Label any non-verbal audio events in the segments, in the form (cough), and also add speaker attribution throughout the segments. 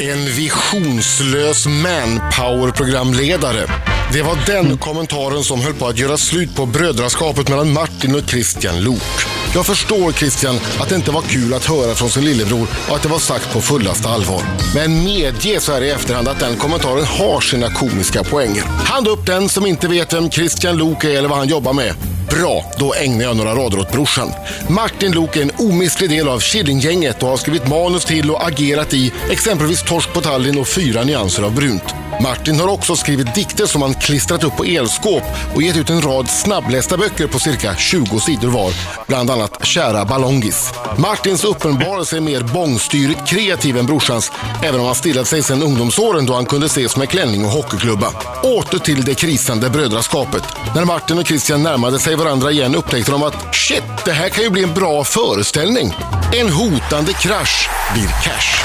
Speaker 1: En visionslös manpower-programledare. Det var den kommentaren som höll på att göra slut på brödraskapet mellan Martin och Christian Lok. Jag förstår Christian att det inte var kul att höra från sin lillebror och att det var sagt på fullaste allvar. Men medge så här i efterhand att den kommentaren har sina komiska poänger. Hand upp den som inte vet vem Christian Lok är eller vad han jobbar med. Bra, då ägnar jag några rader åt brorsan. Martin Lok är en omistlig del av Killinggänget och har skrivit manus till och agerat i exempelvis Torsk på Tallinn och Fyra nyanser av brunt. Martin har också skrivit dikter som han klistrat upp på elskåp och gett ut en rad snabblästa böcker på cirka 20 sidor var, bland annat Kära ballongis. Martins uppenbarelse är mer bångstyrigt kreativ än brorsans, även om han stillat sig sedan ungdomsåren då han kunde ses med klänning och hockeyklubba. Åter till det krisande brödraskapet. När Martin och Christian närmade sig varandra igen upptäckte de att shit, det här kan ju bli en bra föreställning. En hotande krasch blir cash.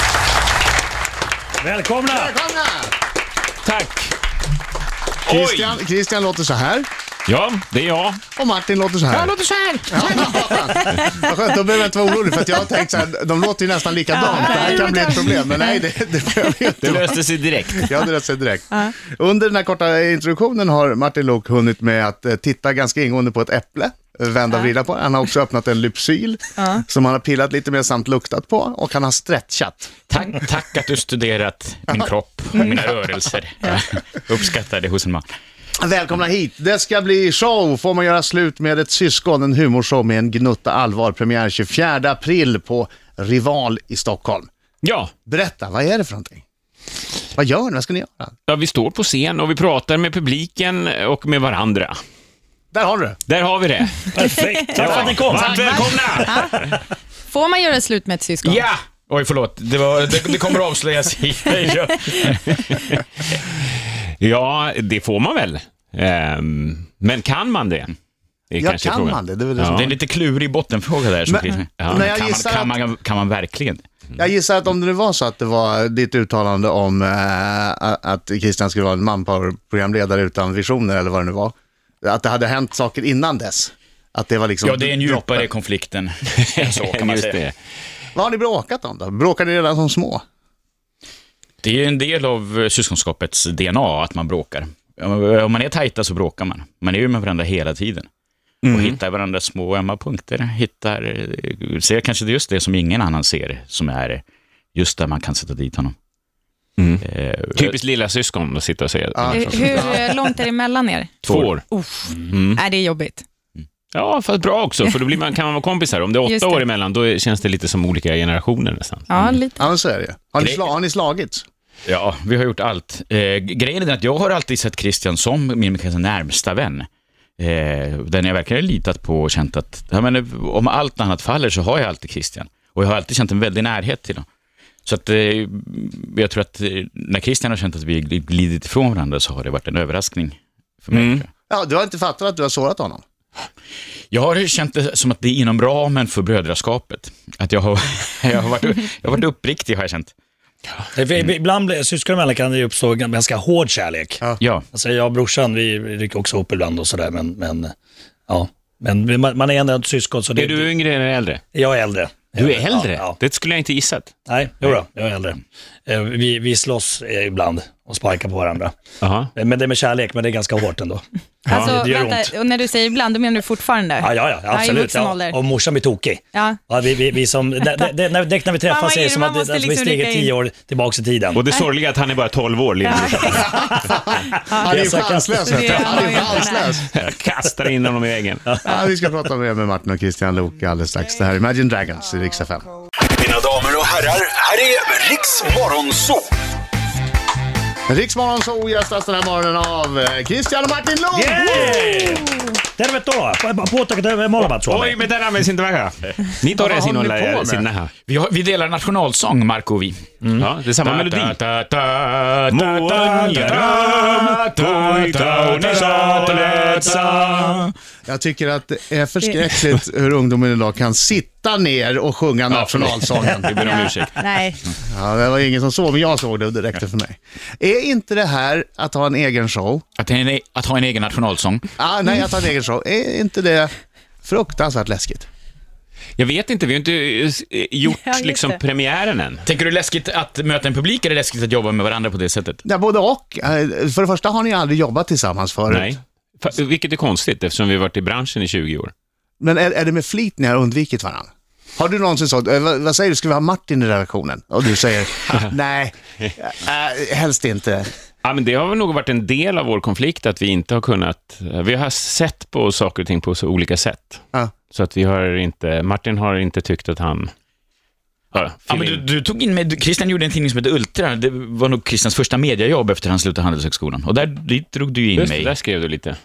Speaker 2: Välkomna!
Speaker 1: Välkomna!
Speaker 3: Tack! Oj!
Speaker 4: Christian, Christian låter så här
Speaker 3: Ja, det är jag.
Speaker 4: och Martin låter så här.
Speaker 3: låter så här.
Speaker 4: (laughs) Vad skönt, då behöver jag inte vara orolig för att jag har tänkt så här, de låter ju nästan likadant. Det här kan bli ett problem, men nej, det, det behöver ju inte
Speaker 3: Det
Speaker 4: vara.
Speaker 3: löste sig direkt.
Speaker 4: Jag hade rätt sig direkt. Under den här korta introduktionen har Martin Lok hunnit med att eh, titta ganska ingående på ett äpple, eh, vända och vrida på det. Han har också öppnat en lypsyl som han har pillat lite med samt luktat på och han har stretchat.
Speaker 3: Tack, tack att du studerat min kropp och mina rörelser. Uppskattar det hos en man.
Speaker 4: Välkomna hit! Det ska bli show! Får man göra slut med ett syskon? En humorshow med en gnutta allvar. Premiär 24 april på Rival i Stockholm.
Speaker 3: Ja,
Speaker 4: Berätta, vad är det för någonting? Vad gör ni? Vad ska ni göra?
Speaker 3: ja, vi står på scen och vi pratar med publiken och med varandra.
Speaker 4: Där har du det!
Speaker 3: Där har vi det.
Speaker 2: Perfekt! Tack för att ni kom!
Speaker 3: Varmt välkomna!
Speaker 5: Får man göra slut med ett syskon?
Speaker 3: Ja! Oj, förlåt. Det, var, det, det kommer att avslöjas (laughs) i... ja, det får man väl. Ehm, men kan man det? Det är
Speaker 4: Ja,
Speaker 3: kanske
Speaker 4: kan
Speaker 3: frågan.
Speaker 4: man det? Det är väl det som-
Speaker 3: är en lite klurig bottenfråga där.
Speaker 4: Men-
Speaker 3: Christian-
Speaker 4: men
Speaker 3: men
Speaker 4: jag
Speaker 3: kan,
Speaker 4: gissar
Speaker 3: man, kan, man, kan man verkligen?
Speaker 6: Mm.
Speaker 4: Jag gissar att om det nu var så att det var ditt uttalande om eh, att Christian skulle vara en manpower-programledare utan visioner eller vad det nu var, att det hade hänt saker innan dess. Att det var liksom...
Speaker 6: Ja, det är en djupare konflikten än så kan
Speaker 3: (laughs)
Speaker 6: man
Speaker 3: Just
Speaker 6: säga. Det.
Speaker 3: det.
Speaker 4: Vad har ni bråkat om då? Bråkade ni redan som små?
Speaker 6: är en del av eh, syskonskapets DNA, att man bråkar. Om- Om man är tajta så bråkar man. Man är ju med varandra hela tiden. Och hittar varandras små ömma punkter. Hittar, eh, ser kanske det är just det som ingen annan ser, som är just där man kan sätta dit honom. Eh,
Speaker 3: Typiskt lilla syskon att sitta och säga.
Speaker 5: Hur, hur eh, långt är det mellan er?
Speaker 3: Ah. Två år.
Speaker 5: Är det är jobbigt?
Speaker 3: Ja, fast bra också, för då blir man, kan man vara kompisar. Om det är
Speaker 5: Just
Speaker 3: åtta
Speaker 5: det.
Speaker 3: år emellan, då är- känns det lite som olika generationer nästan.
Speaker 5: Ja, lite.
Speaker 4: Ja, men så är det ju. Har ni,
Speaker 6: Det-
Speaker 4: sla- har ni slagits?
Speaker 6: Ja, vi har gjort allt. Eh, grejen är den att jag har alltid sett Christian som min kanske närmsta vän. Eh, den jag verkligen har litat på och känt att, ja, men, om allt annat faller så har jag alltid Christian. Och jag har alltid känt en väldig närhet till honom. Så att, eh, jag tror att eh, när Christian har känt att vi gl- glidit ifrån varandra så har det varit en överraskning för mig. tror jag.
Speaker 4: Ja, du har inte fattat att du har sårat honom?
Speaker 6: Jag har känt det som att det är inom ramen för brödraskapet. Att jag har, (laughs) jag har, varit, jag har varit uppriktig har jag känt.
Speaker 2: Mm. Ibland blir- syskon emellan kan det ju uppstå en ganska hård kärlek.
Speaker 6: Ja.
Speaker 2: Alltså jag och brorsan, vi rycker också ihop ibland och sådär, men, men ja. Men man, man är ändå ett syskon, så det,
Speaker 3: Är du yngre eller äldre?
Speaker 2: jag är äldre.
Speaker 3: Du är äldre?
Speaker 2: Ja, ja.
Speaker 3: Det skulle jag inte gissat.
Speaker 2: Nej, jodå, jag är äldre. Eh, Vi, vi slåss eh, ibland och sparkar på varandra.
Speaker 3: Aha.
Speaker 2: Eh, Men det är med kärlek, men det är ganska hårt ändå.
Speaker 5: Alltså,
Speaker 2: det gör
Speaker 5: vänta, och när du säger ibland, då menar du fortfarande?
Speaker 2: Ja, ja, ja
Speaker 5: (laughs) Ja, i
Speaker 2: absolut.
Speaker 5: vuxen ålder.
Speaker 2: Ja, och morsan blir tokig.
Speaker 5: Ja.
Speaker 2: Ja, vi, vi,
Speaker 5: (laughs)
Speaker 2: vi som, det, det, det, när, direkt när vi
Speaker 5: Mamma
Speaker 2: träffas är det
Speaker 5: Irma
Speaker 2: som att det,
Speaker 5: måste
Speaker 2: alltså, vi
Speaker 5: liksom
Speaker 2: stiger
Speaker 5: rycka in.
Speaker 2: tio år tillbaka i tiden.
Speaker 3: Och det sorgliga är att han är bara 12 år,
Speaker 5: (laughs)
Speaker 3: lillebrorsan.
Speaker 4: Han är ju
Speaker 2: Jag sa-
Speaker 4: chanslös.
Speaker 5: Det
Speaker 4: vet du.
Speaker 5: är-
Speaker 4: Han är ju
Speaker 5: han är ju
Speaker 4: chanslös.
Speaker 3: Kastar in honom i väggen.
Speaker 4: Ja, vi ska prata mer med Martin och Christian Lok alldeles strax. Det här är Imagine Dragons i Rix FM.
Speaker 7: Mina damer och herrar, här är Riks Morgonzoo!
Speaker 4: Rix Morgonzoo gästas den här morgonen av eh, Christian och Martin Lok!
Speaker 2: Yay! Tervetuloa! Puhutteko te molemmat
Speaker 3: Oj,
Speaker 2: suomeen?
Speaker 3: mitä nämä ensin vähän? Niitä on
Speaker 4: Vad håller
Speaker 3: sinulla
Speaker 4: ni på
Speaker 3: ja
Speaker 4: med?
Speaker 3: sinne nähdään.
Speaker 6: Vi, har, vi delar nationalsång, Marco och vi. Mm.
Speaker 3: Ja, det är samma melodi. Muuan ja
Speaker 4: Jag tycker att det är förskräckligt hur ungdomen idag kan sitta ner och sjunga
Speaker 5: (laughs)
Speaker 4: nationalsången.
Speaker 6: Vi ber om ursäkt.
Speaker 5: Nej,
Speaker 4: Ja, det var ingen som såg, men jag såg det och det räckte för mig. Är inte det här att ha en egen show?
Speaker 6: Att, en, e- att ha en egen nationalsång.
Speaker 4: Ah, nej, att ha en egen show. Är inte det fruktansvärt läskigt?
Speaker 8: Jag vet inte, vi har inte eh, gjort
Speaker 5: Ja, just
Speaker 8: liksom
Speaker 5: det.
Speaker 8: premiären än.
Speaker 6: Tänker du läskigt att möta en publik eller läskigt att jobba med varandra på det sättet?
Speaker 4: Ja, både och. Eh, För det första har ni aldrig jobbat tillsammans förut.
Speaker 8: Nej. Fa- Vilket är konstigt eftersom vi har varit i branschen i 20 år.
Speaker 4: Men är, är det med flit ni har undvikit varandra? Har du någonsin sagt, eh, vad, vad säger du, ska vi ha Martin i redaktionen? Och du säger, (laughs) nej, äh, helst inte.
Speaker 8: Ja, men det har väl nog varit en del av vår konflikt att vi inte har kunnat... Vi har sett på saker och ting på så olika sätt.
Speaker 4: Ja.
Speaker 8: Så att vi har inte... Martin har inte tyckt att han... Ja,
Speaker 6: Ja, men du, du tog in med, Christian gjorde en tidning som hette Ultra. Det var nog Christians första mediajobb efter han slutade Handelshögskolan. Och där dit drog du ju in
Speaker 8: Just det,
Speaker 6: mig.
Speaker 8: där skrev du lite.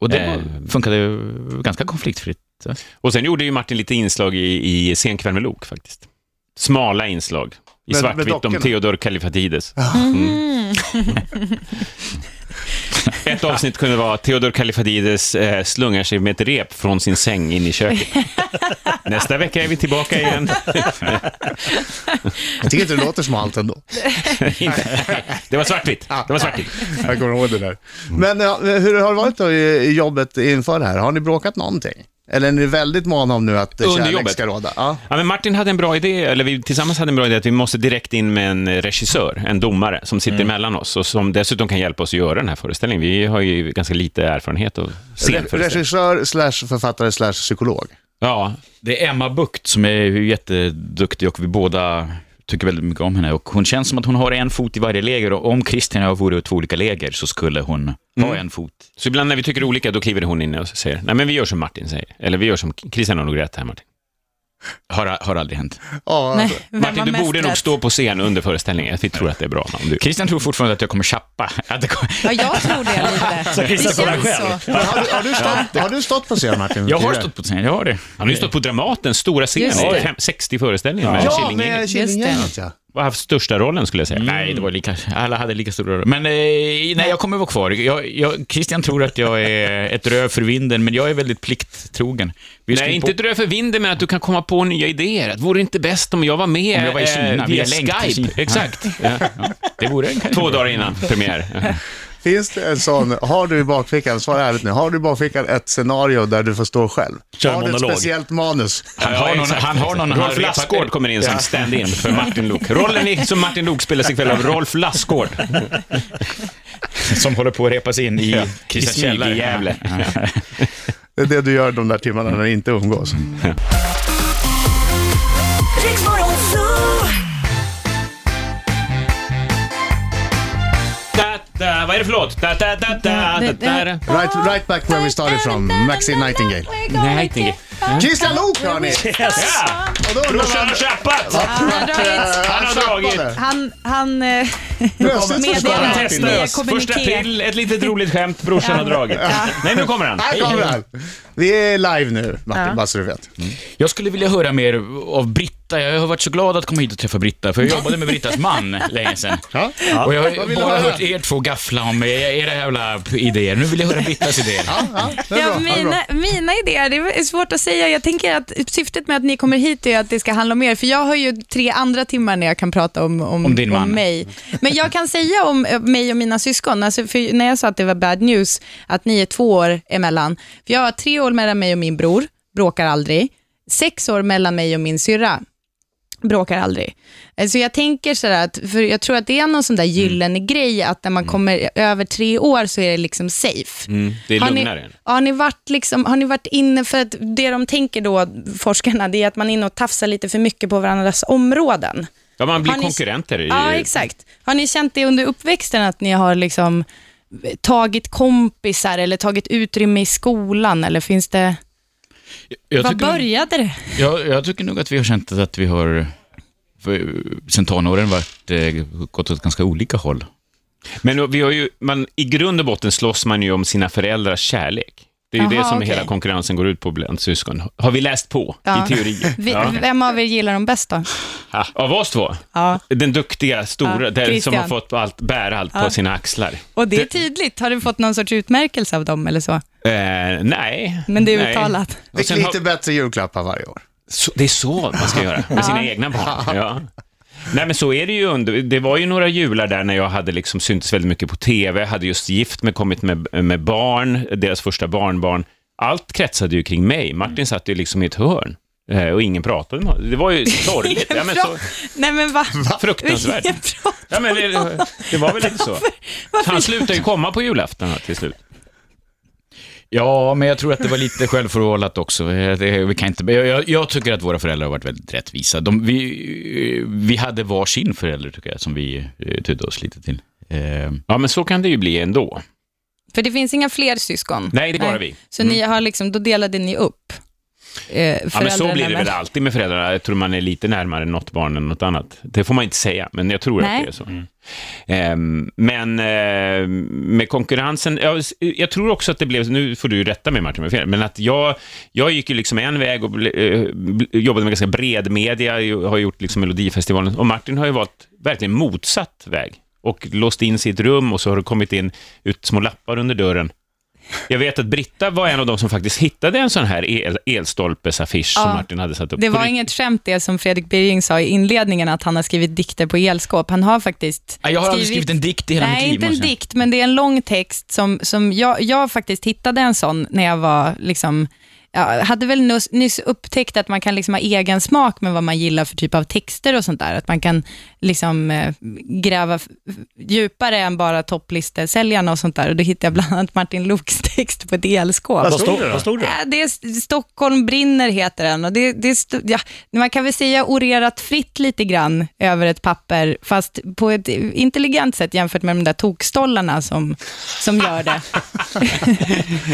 Speaker 6: Och det
Speaker 8: Eh,
Speaker 6: var- funkade ju ganska konfliktfritt. va?
Speaker 8: Och sen gjorde ju Martin lite inslag i, i Senkväll med Lok faktiskt. Smala inslag. I
Speaker 4: Med- med
Speaker 8: svartvitt om
Speaker 4: dockorna.
Speaker 8: Theodor Mm. Kalifatides. (laughs) Ett avsnitt kunde vara Theodor Kalifatides eh, slungar sig med ett rep från sin säng in i köket. Nästa vecka är vi tillbaka igen.
Speaker 4: Jag tycker inte det låter smalt ändå.
Speaker 8: Det var svartvitt. Det var svartvitt.
Speaker 4: Jag kommer ihåg det där. Men ja, hur har det varit då i i jobbet inför det här? Har ni bråkat någonting? Eller är ni väldigt måna om nu att eh,
Speaker 8: Under
Speaker 4: kärlek
Speaker 8: jobbet?
Speaker 4: ska råda? Ja.
Speaker 8: Ja, men Martin hade en bra idé, eller vi tillsammans hade en bra idé, att vi måste direkt in med en regissör, en domare, som sitter mellan oss och som dessutom kan hjälpa oss att göra den här föreställningen. Vi har ju ganska lite erfarenhet av scenföreställningar.
Speaker 4: Regissör slash författare slash psykolog.
Speaker 8: Ja,
Speaker 6: Det är Emma Bukt som är ju jätteduktig och vi båda tycker väldigt mycket om henne. Och hon känns som att hon har en fot i varje läger och om Christian och jag vore i två olika läger så skulle hon
Speaker 8: Mm.
Speaker 6: ha en fot.
Speaker 8: så ibland när vi tycker olika, då kliver hon in och säger, nej men vi gör som Martin säger, eller vi gör som Christian har nog rätt här Martin.
Speaker 6: Har, har aldrig hänt.
Speaker 4: Ja,
Speaker 5: Nej, vem
Speaker 8: Martin,
Speaker 5: har
Speaker 8: du
Speaker 5: mest
Speaker 8: borde nog
Speaker 5: rätt?
Speaker 8: stå på scen under föreställningen, vi tror att det är bra. Om du...
Speaker 6: Christian tror fortfarande att jag kommer chappa. (laughs) Att det kommer...
Speaker 5: Ja, jag tror det lite. det
Speaker 2: Christian får den
Speaker 5: känns
Speaker 2: själv.
Speaker 5: så.
Speaker 4: Men Har, du, har, du stått, har du stått på scen Martin?
Speaker 6: Jag har
Speaker 4: tidigare?
Speaker 6: stått på scenen, jag har det.
Speaker 8: Han har ju stått på Dramaten, stora
Speaker 5: Just
Speaker 8: scenen,
Speaker 5: det.
Speaker 8: i fem- 60 föreställningar med
Speaker 4: Ja,
Speaker 8: Killinggänget.
Speaker 4: med Killinggänget Alltså, ja.
Speaker 8: Och haft största rollen skulle jag säga.
Speaker 6: Nej, det var lika, alla hade lika stora rör. Men eh, nej, jag kommer vara kvar. Jag, jag, Christian tror att jag
Speaker 8: (laughs)
Speaker 6: är ett rö för vinden, men jag är väldigt plikttrogen. Vi
Speaker 8: Nej,
Speaker 6: skulle
Speaker 8: inte
Speaker 6: på-
Speaker 8: drö för vinden, men att du kan komma på nya idéer. Att vore det inte bäst om jag var med
Speaker 6: Om jag var i
Speaker 8: eh,
Speaker 6: Kina, via
Speaker 8: via
Speaker 6: länk till
Speaker 8: Skype?
Speaker 6: Kina.
Speaker 8: Exakt.
Speaker 6: Ja, det vore en
Speaker 8: Två dagar innan (laughs) premiär.
Speaker 4: Finns det en sån, har du i bakfickan, svara ärligt nu, har du i bakfickan ett scenario där du får stå själv?
Speaker 2: Kör
Speaker 4: har du ett
Speaker 2: monolog.
Speaker 4: speciellt manus?
Speaker 6: Han har någon- han har någon- han har
Speaker 8: Rolf
Speaker 6: repat-
Speaker 8: Lassgård kommer in som stand-in för Martin Luuk. Rollen i- som Martin Luuk spelas ikväll av Rolf Lassgård.
Speaker 6: som håller på att repas in i
Speaker 8: I
Speaker 6: Christians
Speaker 8: smyg
Speaker 6: källare. (laughs)
Speaker 8: i Gävle.
Speaker 4: Det är det du gör de där timmarna när du inte umgås.
Speaker 9: Riksmorgon Zoo.
Speaker 8: Da, da, vad är det för låt? Da, da, da, da, da, da.
Speaker 4: Right, right back where we started from, Maxine Nightingale.
Speaker 8: Nightingale.
Speaker 4: Christian Lok hörni!
Speaker 8: Ja!
Speaker 4: Och då undrar
Speaker 8: Brorsan
Speaker 4: man-
Speaker 8: har chappat!
Speaker 5: Han har dragit...
Speaker 8: Han har dragit.
Speaker 5: Han, han eh,
Speaker 4: Plötsligt så står han.
Speaker 5: meddelar
Speaker 8: Testa
Speaker 5: i
Speaker 8: oss. Första
Speaker 5: kommuniké.
Speaker 8: april, ett litet roligt skämt brorsan har dragit. Nej, nu kommer han.
Speaker 4: Här kommer han! Vi är live nu, Martin,
Speaker 5: Ja.
Speaker 4: bara så du vet.
Speaker 6: Jag skulle vilja höra mer av Britta. Jag har varit så glad att komma hit och träffa Britta, (laughs) för jag jobbade med Brittas man länge sedan.
Speaker 4: Ja.
Speaker 6: Och jag
Speaker 4: Vad
Speaker 6: har
Speaker 4: vill du
Speaker 6: bara
Speaker 4: höra?
Speaker 6: hört er två gaffla om era jävla idéer. Nu vill jag höra Brittas idéer.
Speaker 4: Ja, det är
Speaker 5: Ja,
Speaker 4: bra. det är
Speaker 5: mina,
Speaker 4: bra.
Speaker 5: mina idéer, det är svårt att säga. Jag tänker att syftet med att ni kommer hit är att det ska handla om er, för jag har ju tre andra timmar när jag kan prata om, om,
Speaker 6: Om din man.
Speaker 5: mig. Men jag kan säga om eh, mig och mina syskon, alltså för när jag sa att det var bad news, att ni är två år emellan. För jag har tre år mellan mig och min bror, bråkar aldrig. Sex år mellan mig och min syrra, bråkar aldrig. Eh, Så jag tänker sådär, att, för jag tror att det är någon sån där
Speaker 6: Mm.
Speaker 5: gyllene grej att när man kommer över tre år så är det liksom safe.
Speaker 6: Mm.
Speaker 8: Det är
Speaker 5: Har ni-
Speaker 8: lugnare.
Speaker 5: Har ni, varit liksom, har ni varit inne, för att det de tänker då, forskarna, det är att man är inne och tafsar lite för mycket på varandras områden.
Speaker 8: Ja, man blir
Speaker 5: Har ni-
Speaker 8: konkurrenter. i-
Speaker 5: Ja, exakt. Har ni känt det under uppväxten att ni har liksom tagit kompisar eller tagit utrymme i skolan eller finns det,
Speaker 6: Jag
Speaker 5: var
Speaker 6: tycker nog-
Speaker 5: började
Speaker 8: (laughs)
Speaker 5: det?
Speaker 6: Jag, jag tycker nog att vi har känt att vi har för, sen tonåren varit, eh, gått åt ganska olika håll.
Speaker 8: Men vi har ju, man, i grund och botten slåss man ju om sina föräldrars kärlek. Det är ju
Speaker 5: Aha,
Speaker 8: det som
Speaker 5: okej.
Speaker 8: hela konkurrensen går ut på bland syskon. Har vi läst på
Speaker 5: Ja.
Speaker 8: i
Speaker 5: (laughs)
Speaker 8: teori?
Speaker 5: Vi,
Speaker 8: Ja.
Speaker 5: Vem av er gillar dem bäst då?
Speaker 8: Ja. Av oss två?
Speaker 5: Ja.
Speaker 8: Den duktiga, stora,
Speaker 5: Ja,
Speaker 8: den som
Speaker 5: Christian.
Speaker 8: har fått allt, bära allt på sina axlar.
Speaker 5: Och det är tydligt, har du fått någon sorts utmärkelse av dem eller så?
Speaker 8: Eh, nej.
Speaker 5: Men det är
Speaker 8: nej.
Speaker 5: uttalat.
Speaker 8: Och
Speaker 4: Fick
Speaker 8: sen har-
Speaker 4: lite bättre julklappar varje år.
Speaker 8: Så, det är så man ska göra med sina egna barn. Ja. Nej, men så är det ju. Under, det var ju några jular där när jag hade liksom syntes väldigt mycket på tv, hade just gift mig, kommit med, med barn, deras första barnbarn. Allt kretsade ju kring mig. Martin satt ju liksom i ett hörn Eh, Och ingen pratade med honom. Det var ju (laughs) sorgligt. ja, men så,
Speaker 5: Nej men
Speaker 8: (laughs)
Speaker 5: va?
Speaker 8: Fruktansvärt.
Speaker 5: Vilken prat-
Speaker 8: ja, men det, det var väl lite så.
Speaker 5: varför-
Speaker 8: Han slutade ju komma på julafton här till slut.
Speaker 6: Ja, men jag tror att det var lite självförvållat också. Eh, Det, vi kan inte, jag- jag, jag tycker att våra föräldrar har varit väldigt rättvisa. De, vi, eh, vi hade varsin förälder, tycker jag, som vi eh, tydde oss lite till. Eh,
Speaker 8: Ja, men så kan det ju bli ändå.
Speaker 5: För det finns inga fler syskon?
Speaker 8: Nej, det är bara vi. Mm.
Speaker 5: Så ni har liksom, då delade ni upp eh,
Speaker 8: Ja, men så blir det
Speaker 5: föräldrarna
Speaker 8: väl alltid med föräldrarna. Jag tror man är lite närmare något barn än något annat. Det får man inte säga, men jag tror
Speaker 5: Nej.
Speaker 8: att det är så. Ehm, men eh, med konkurrensen, jag, jag tror också att det blev, nu får du ju rätta mig Martin, om jag har fel, men att jag, jag gick ju liksom en väg och ble, eh, bl- jobbade med ganska bred media, jag har gjort liksom Melodifestivalen, och Martin har ju valt verkligen motsatt väg och låst in sig i ett rum och så har det kommit in ut små lappar under dörren. Jag vet att Britta var en av de som faktiskt hittade en sån här el, elstolpesaffisch
Speaker 5: Ja.
Speaker 8: som Martin hade satt upp.
Speaker 5: Det
Speaker 8: På
Speaker 5: var
Speaker 8: riktigt.
Speaker 5: inget skämt det som Fredrik Birging sa i inledningen, att han har skrivit dikter på elskåp. Han har faktiskt
Speaker 6: Ja, jag har aldrig skrivit en dikt i hela
Speaker 5: Nej,
Speaker 6: mitt liv,
Speaker 5: inte en
Speaker 6: måste jag säga.
Speaker 5: dikt, men det är en lång text som, som jag, jag faktiskt hittade en sån när jag var liksom jag hade väl nyss, nyss upptäckt att man kan liksom ha egen smak med vad man gillar för typ av texter och sånt där. Att man kan liksom eh, gräva f- djupare än bara topplistesäljarna och sånt där. Och då hittade jag bland annat Martin Looks text på ett elskåp.
Speaker 2: Vad stod, vad stod det?
Speaker 5: Ja, Äh, det är Stockholm brinner heter den. Och det, det är sto- ja, man kan väl säga orerat fritt lite grann över ett papper, fast på ett intelligent sätt jämfört med de där tokstollarna som, som
Speaker 4: (laughs)
Speaker 5: gör det.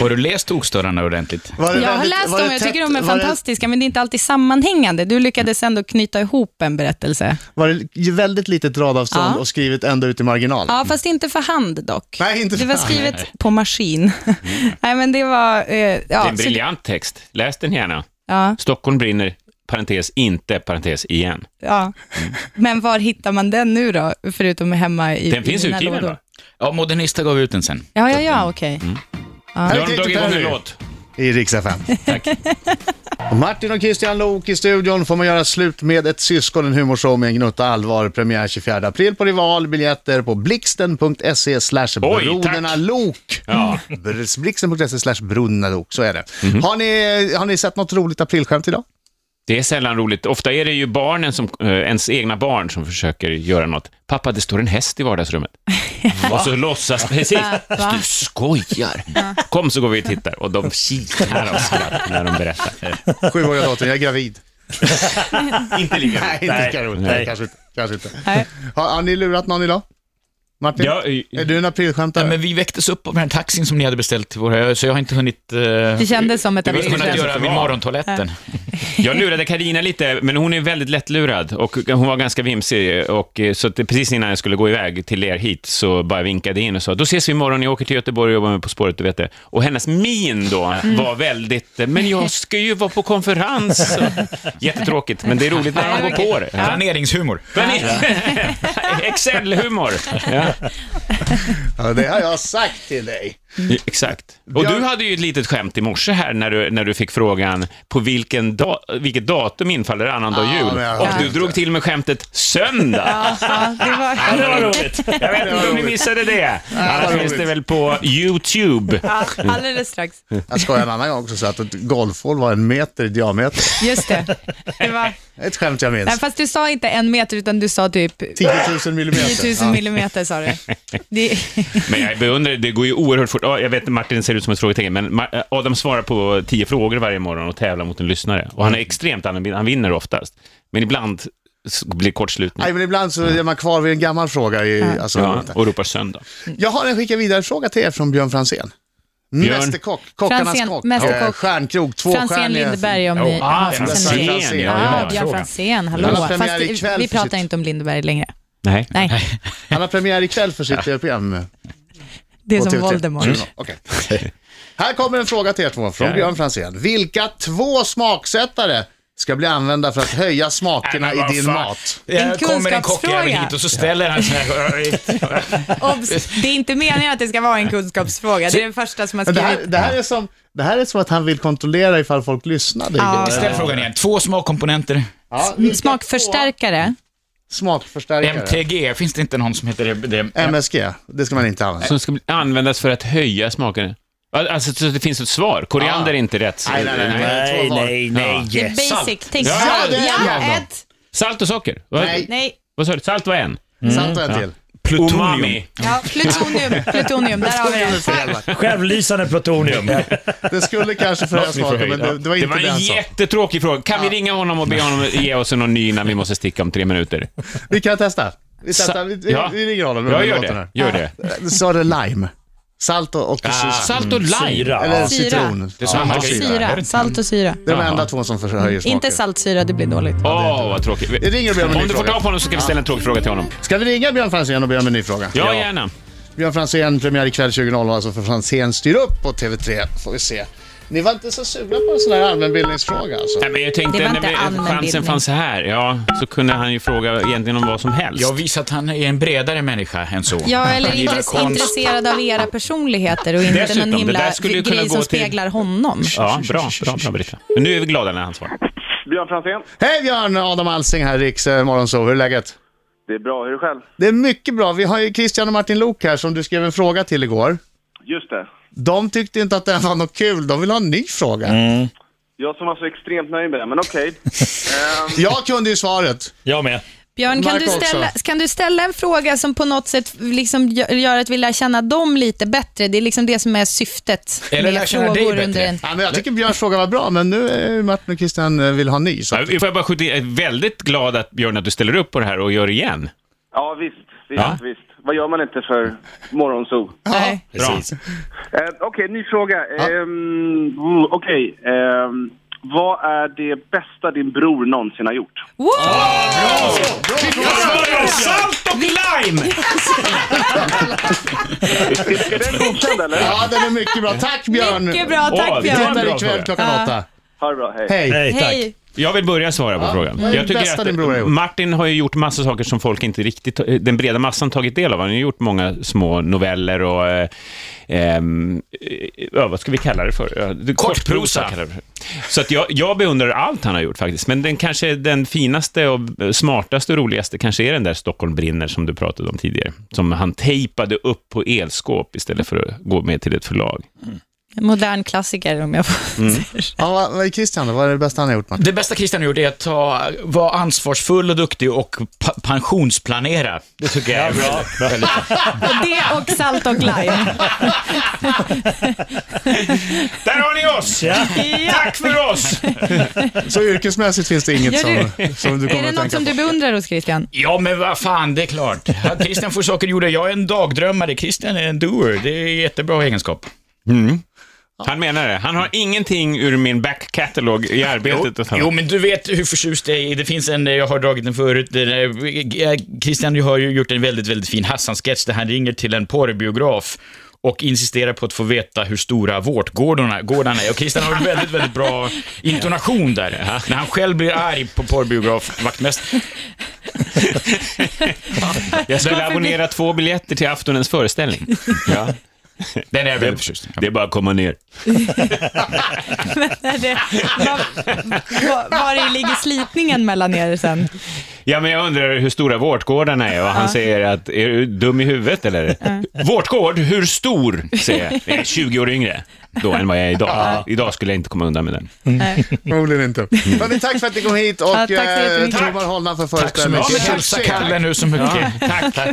Speaker 6: har du läst Tokstörarna ordentligt?
Speaker 4: Var det
Speaker 5: Jag har
Speaker 4: väldigt-
Speaker 5: läst
Speaker 4: var
Speaker 5: dem
Speaker 4: det
Speaker 5: och jag tycker
Speaker 4: tätt-
Speaker 5: de är
Speaker 4: var det-
Speaker 5: fantastiska, men det är inte alltid sammanhängande. Du lyckades ändå knyta ihop en berättelse.
Speaker 4: Var det väldigt litet radavstånd
Speaker 5: Ja.
Speaker 4: och skrivet ända ut i marginalen?
Speaker 5: Ja, fast inte för hand dock.
Speaker 4: Mm. Nej, Mm. inte
Speaker 5: Det var
Speaker 4: för-
Speaker 5: skrivet på maskin. (laughs) Nej, men det var... Eh, ja,
Speaker 8: Det är en
Speaker 5: så-
Speaker 8: briljant text. Läs den gärna.
Speaker 5: Ja,
Speaker 8: Stockholm brinner, parentes, inte, parentes, igen.
Speaker 5: ja.
Speaker 4: Mm.
Speaker 5: Men var hittar man den nu då, förutom hemma i
Speaker 8: Den
Speaker 5: i
Speaker 8: finns
Speaker 5: mina
Speaker 8: utgiven
Speaker 5: lådor?
Speaker 8: va?
Speaker 6: Ja, Modernista gav ut den sen.
Speaker 5: Ja, ja, ja, okej.
Speaker 8: Nu
Speaker 4: Här
Speaker 8: har de
Speaker 4: är
Speaker 8: dragit
Speaker 4: Katy
Speaker 8: igång en
Speaker 4: Perry
Speaker 8: låt.
Speaker 4: i Rix FM.
Speaker 5: (laughs)
Speaker 8: Tack.
Speaker 4: Och Martin och Christian Lok i studion får man göra slut med ett syskon, en humorshow med en gnutta allvar. Premiär 24 april på Rival. Biljetter på blixten.se slash
Speaker 8: Oj,
Speaker 4: Broderna
Speaker 8: tack.
Speaker 4: Lok.
Speaker 8: Ja. Mhm.
Speaker 4: Br- Blixten.se slash Broderna Lok, så är det. Har, ni, har ni sett något roligt aprilskämt idag?
Speaker 8: Det är sällan roligt. Ofta är det ju barnen som, eh, ens egna barn som försöker göra något. Pappa, det står en häst i vardagsrummet.
Speaker 5: (laughs)
Speaker 8: Och så låtsas, precis.
Speaker 5: Va?
Speaker 8: Du skojar. Kom så går vi och tittar. Och de kikar av skratt när de berättar.
Speaker 4: Sjuåriga dottern, jag är gravid.
Speaker 8: (laughs) Inte lika
Speaker 4: Nej, inte lika roligt. Nej,
Speaker 2: nej.
Speaker 4: kanske inte. Kanske inte.
Speaker 5: Nej.
Speaker 4: Har, har ni lurat någon idag? Martin?
Speaker 8: Ja, eh,
Speaker 4: Är du en aprilskämtare?
Speaker 6: Ja, men vi väcktes upp av den här taxin som ni hade beställt till våra, så jag har inte hunnit... eh,
Speaker 5: Det kändes som ett
Speaker 6: jag har inte kunnat
Speaker 5: aprilskämt.
Speaker 6: göra min morgontoaletten.
Speaker 8: Jag lurade Karina lite, men hon är väldigt lättlurad och hon var ganska vimsig. Och, eh, så att det- precis innan jag skulle gå iväg till er hit så bara vinkade jag in och sa, då ses vi imorgon, jag åker till Göteborg och jobbar med På spåret, du vet det. Och hennes min då var väldigt, eh, men jag ska ju vara på konferens. Jättetråkigt, men det är roligt när man går på det.
Speaker 6: Planeringshumor.
Speaker 8: Men- (laughs) Excel-humor. Ja,
Speaker 4: Ja, det har jag sagt till dig.
Speaker 8: exakt. Och du hade ju ett litet skämt i morse här när du, när du fick frågan på vilken da, vilket datum infaller annandag
Speaker 4: Ja,
Speaker 8: jul.
Speaker 4: men jag
Speaker 8: Och
Speaker 4: vet
Speaker 8: du
Speaker 4: inte.
Speaker 8: drog till med skämtet söndag.
Speaker 5: Ja, det var...
Speaker 8: Ja, det var roligt. Jag vet inte om ni missade det. Annars
Speaker 4: roligt.
Speaker 8: finns det väl på YouTube.
Speaker 5: Ja, alldeles strax.
Speaker 4: Jag skojade en annan gång också så att ett golfhål var en meter i diameter.
Speaker 5: Just det. det var...
Speaker 4: Ett skämt jag minns.
Speaker 5: Nej, fast du sa inte en meter, utan du sa typ 10
Speaker 4: 10 000 millimeter.
Speaker 5: 000 millimeter. Sa du. Det...
Speaker 8: Men jag beundrar det, det går ju oerhört fort. Ja, Jag vet Martin ser ut som ett frågetecken, men Ma- eh, Adam svarar på tio frågor varje morgon och tävlar mot en lyssnare. Och han är extremt annorlunda, han vinner oftast. Men ibland s- blir kortslutning.
Speaker 4: Nej, men ibland så är man kvar vid en gammal fråga. I, alltså,
Speaker 8: Ja, och ropar söndag.
Speaker 4: Jag har en skicka vidare-fråga till er från Björn Fransén.
Speaker 8: Björn-
Speaker 4: Mästerkock, kockarnas
Speaker 5: Fransén,
Speaker 4: kock,
Speaker 5: mästerkock.
Speaker 4: eh, stjärnkrog,
Speaker 5: Franzén
Speaker 4: tvåstjärnig.
Speaker 5: Lindeberg om ni...
Speaker 8: Oh, ah,
Speaker 5: Franzén
Speaker 8: Franzén,
Speaker 5: Lindeberg.
Speaker 4: Franzén,
Speaker 8: ja,
Speaker 5: Ah,
Speaker 8: ja,
Speaker 5: Björn
Speaker 8: fråga.
Speaker 4: Han
Speaker 5: Franzén, hallå.
Speaker 4: har premiär
Speaker 5: Fast
Speaker 4: ikväll
Speaker 5: vi
Speaker 4: för
Speaker 5: pratar
Speaker 4: sitt-
Speaker 5: inte om Lindeberg längre.
Speaker 8: Nej.
Speaker 5: Nej,
Speaker 4: Han har premiär ikväll för sitt tv-program.
Speaker 5: det är
Speaker 4: på
Speaker 5: som
Speaker 4: TV3.
Speaker 5: Voldemort.
Speaker 4: Mm, okej. Här kommer en fråga till er två från
Speaker 8: Ja.
Speaker 4: Björn Fransén. Vilka två smaksättare ska bli använda för att höja smakerna
Speaker 6: Nej,
Speaker 4: i
Speaker 6: men vad
Speaker 4: din
Speaker 6: fan.
Speaker 4: mat?
Speaker 6: Här Eh, kommer en kockjävel
Speaker 5: kunskapsfråga.
Speaker 6: hit och så ställer han så
Speaker 5: (laughs)
Speaker 6: här...
Speaker 5: Obs, det är inte meningen att det ska vara en kunskapsfråga. Det är den första som har
Speaker 4: Men Det här,
Speaker 5: skrivit.
Speaker 4: det, här är som, det här är som att han vill kontrollera ifall folk lyssnade.
Speaker 5: Ja.
Speaker 6: Ställ frågan igen. Två smakkomponenter.
Speaker 4: Ja, vilka
Speaker 5: Smakförstärkare.
Speaker 4: två Smakförstärkare.
Speaker 6: MTG, finns det inte någon som heter det? det
Speaker 4: MSG, det ska man inte använda.
Speaker 8: Som ska bli- användas för att höja smaken. Alltså, så det finns ett svar. Koriander är inte rätt.
Speaker 4: Ah. Nej, nej, nej.
Speaker 2: Nej,
Speaker 4: Två var.
Speaker 2: nej, nej.
Speaker 5: Det är basic.
Speaker 8: Salt.
Speaker 5: Tänk
Speaker 8: Ja,
Speaker 5: ja,
Speaker 4: det är en av dem.
Speaker 5: ja, ett.
Speaker 8: Salt och socker. Vad-
Speaker 4: Nej.
Speaker 5: Nej.
Speaker 8: Vad sa du? Salt var en.
Speaker 5: Mm.
Speaker 4: Salt och en till.
Speaker 8: Umami.
Speaker 5: Ja, plutonium. Plutonium, där har vi det.
Speaker 2: Självlysande plutonium.
Speaker 4: Det skulle kanske förändra smaken, men det, det var
Speaker 8: Det
Speaker 4: inte
Speaker 8: var en
Speaker 4: den som...
Speaker 8: jättetråkig fråga. Kan vi ringa honom och be honom ge oss någon ny när vi måste sticka om tre minuter?
Speaker 4: Vi kan testa. Vi, testar.
Speaker 8: Sa-
Speaker 4: vi, vi,
Speaker 8: Ja.
Speaker 4: vi ringer honom.
Speaker 8: Jag gör det. Gör det.
Speaker 4: det. Eh, Sa det lime? Salt och... och
Speaker 8: Ah. Salt och lime.
Speaker 2: Fyra.
Speaker 4: Eller
Speaker 5: Syra.
Speaker 4: citron.
Speaker 5: Det
Speaker 4: Det är,
Speaker 8: samma
Speaker 4: ja.
Speaker 8: grej.
Speaker 5: Syra. Salt och syra.
Speaker 4: det är de enda två som förhöjer smaken.
Speaker 5: Inte saltsyra, det blir dåligt.
Speaker 8: Åh, vad tråkigt.
Speaker 4: Vi ringer och ber om en ny
Speaker 8: Om du får
Speaker 4: fråga.
Speaker 8: tag på honom så ska vi ställa en tråkig fråga till honom.
Speaker 4: Ska vi ringa Björn Franzén och be om en ny fråga?
Speaker 8: Ja, gärna.
Speaker 4: Björn Franzén, premiär ikväll 20.00 alltså för Franzén styr upp på TV3. Får vi se. Ni var inte så sugna på en sån här allmänbildningsfråga alltså?
Speaker 8: Nej, men jag
Speaker 5: Det
Speaker 8: tänkte
Speaker 5: var inte
Speaker 8: när vi,
Speaker 5: allmänbildning.
Speaker 8: chansen fanns här, ja, så kunde han ju fråga egentligen om vad som helst.
Speaker 6: Jag visar att han är en bredare människa än så.
Speaker 5: Ja, eller
Speaker 6: Han gillar
Speaker 5: intress- intresserad av era personligheter och inte någon
Speaker 8: Dessutom, det där
Speaker 5: himla
Speaker 8: skulle ju kunna
Speaker 5: grej
Speaker 8: gå
Speaker 5: som
Speaker 8: till-
Speaker 5: speglar honom.
Speaker 8: Ja, bra, bra, bra Britta. Men nu är vi glada när han svarar.
Speaker 10: Björn Franzén.
Speaker 4: Hej Björn! Adam Alsing här, Riks eh, Morgonzoo. Hur är läget?
Speaker 10: Det är bra. Hur är det själv?
Speaker 4: Det är mycket bra. Vi har ju Christian och Martin Lok här som du skrev en fråga till igår.
Speaker 10: Just det.
Speaker 4: De tyckte inte att det var något kul. De vill ha en ny fråga.
Speaker 10: Jag som var så extremt nöjd med det,
Speaker 4: (laughs)
Speaker 10: men okej. Ehm,
Speaker 4: Jag kunde ju svaret.
Speaker 2: Jag med.
Speaker 5: Björn, kan
Speaker 4: Marco
Speaker 5: du, ställa, kan du ställa en fråga som på något sätt liksom gö- gör att vi lär känna dem lite bättre? Det är liksom det som är syftet
Speaker 6: Eller lär
Speaker 5: med
Speaker 6: känna dig
Speaker 5: frågor
Speaker 6: bättre.
Speaker 5: under en...
Speaker 4: Ja, men jag tycker Björns fråga var bra, men nu är ju Martin och Christian eh, vill ha en ny. Så.
Speaker 8: Ja,
Speaker 4: att-
Speaker 8: Får jag bara skjuta in, jag är väldigt glad att Björn att du ställer upp på det här och gör det igen.
Speaker 10: ja, visst. Visst,
Speaker 8: Ja.
Speaker 10: visst. Vad gör man inte för morgonzoo?
Speaker 4: Ja.
Speaker 2: Precis.
Speaker 10: Ehm, okej, ny fråga. Ehm, mm, okej. Ehm, vad är det bästa din bror någonsin har gjort?
Speaker 5: Wow!
Speaker 8: Salt och lime!
Speaker 10: Är den godkänd eller?
Speaker 4: ja, den är mycket bra. Tack Björn!
Speaker 5: Mycket bra,
Speaker 8: Åh,
Speaker 5: tack
Speaker 8: vilken
Speaker 5: Björn.
Speaker 8: bra
Speaker 4: Tittar ikväll
Speaker 8: fråga.
Speaker 4: klockan
Speaker 5: Ja.
Speaker 4: åtta.
Speaker 10: Ha det bra, hej.
Speaker 4: Hej!
Speaker 2: Nej, tack.
Speaker 5: Hej.
Speaker 8: Jag vill börja svara på frågan.
Speaker 4: vad är det
Speaker 8: Jag tycker
Speaker 4: bästa din bror har
Speaker 8: att
Speaker 4: gjort?
Speaker 8: Martin har ju gjort massa saker som folk inte riktigt, den breda massan tagit del av. Han har ju gjort många små noveller och, eh, ehm, eh, ja, vad ska vi kalla det för? Ja, det- Kortprosa. kallar vi det för. Så att jag, jag beundrar allt han har gjort faktiskt, men den kanske den finaste och eh, smartaste och roligaste kanske är den där Stockholm brinner som du pratade om tidigare, som han tejpade upp på elskåp istället för att gå med till ett förlag.
Speaker 5: Modern klassiker om jag får
Speaker 8: Mm.
Speaker 5: säga så.
Speaker 4: Ja, vad, vad är Christian då? Vad är det bästa han har gjort Martin?
Speaker 6: Det bästa Christian har gjort är att ta, vara ansvarsfull och duktig och pa- pensionsplanera. Det tycker jag är bra. Väldigt,
Speaker 5: Och Det och salt och lime.
Speaker 8: Där har ni oss!
Speaker 2: Ja.
Speaker 5: Ja.
Speaker 8: (laughs) Tack för oss!
Speaker 4: Så yrkesmässigt finns det inget
Speaker 5: Ja,
Speaker 4: som,
Speaker 5: du.
Speaker 4: som du
Speaker 5: Är
Speaker 4: kommer
Speaker 5: det
Speaker 4: att
Speaker 5: något
Speaker 4: tänka
Speaker 5: som
Speaker 4: på?
Speaker 5: du beundrar hos Christian?
Speaker 6: ja, men vad fan, det är klart. Ja, Christian får saker gjorda. Jag är en dagdrömmare, Christian är en doer. Det är jättebra egenskap.
Speaker 8: (laughs) Han menar det. Han har ingenting ur min back catalog i arbetet. att
Speaker 6: Jo,
Speaker 8: han-
Speaker 6: jo, men du vet hur förtjust jag är. Det finns en, eh, jag har dragit den förut, den där- eh, Christian har ju gjort en väldigt, väldigt fin Hassan-sketch där han ringer till en porrbiograf och insisterar på att få veta hur stora vårtgårdarna gårdarna är. Och Christian har en väldigt, väldigt bra intonation där. När han själv blir arg på porrbiografvaktmästaren.
Speaker 8: Jag skulle
Speaker 5: Varför blir-
Speaker 8: abonnera två biljetter till aftonens föreställning. (laughs) Ja.
Speaker 6: Den är jag väldigt förtjust i.
Speaker 8: Det är bara att komma ner.
Speaker 5: Är det- vad- vad- Var ligger slitningen mellan er sen?
Speaker 8: Ja, men jag undrar hur stora vårtgårdarna är och han säger att, är du dum i huvudet eller? Vårtgård, hur stor? Säger jag. jag. är 20 år yngre då än vad jag är idag. Idag skulle jag inte komma undan med den.
Speaker 4: Förmodligen inte. Men tack för att ni kom hit och
Speaker 5: Mm. Ja, tack så
Speaker 4: eh,
Speaker 5: jättemycket.
Speaker 4: Torbjörn Holna för
Speaker 6: Tack så
Speaker 4: föreställningen.
Speaker 6: mycket. Hälsa Kalle nu så mycket.
Speaker 8: Tack, tack.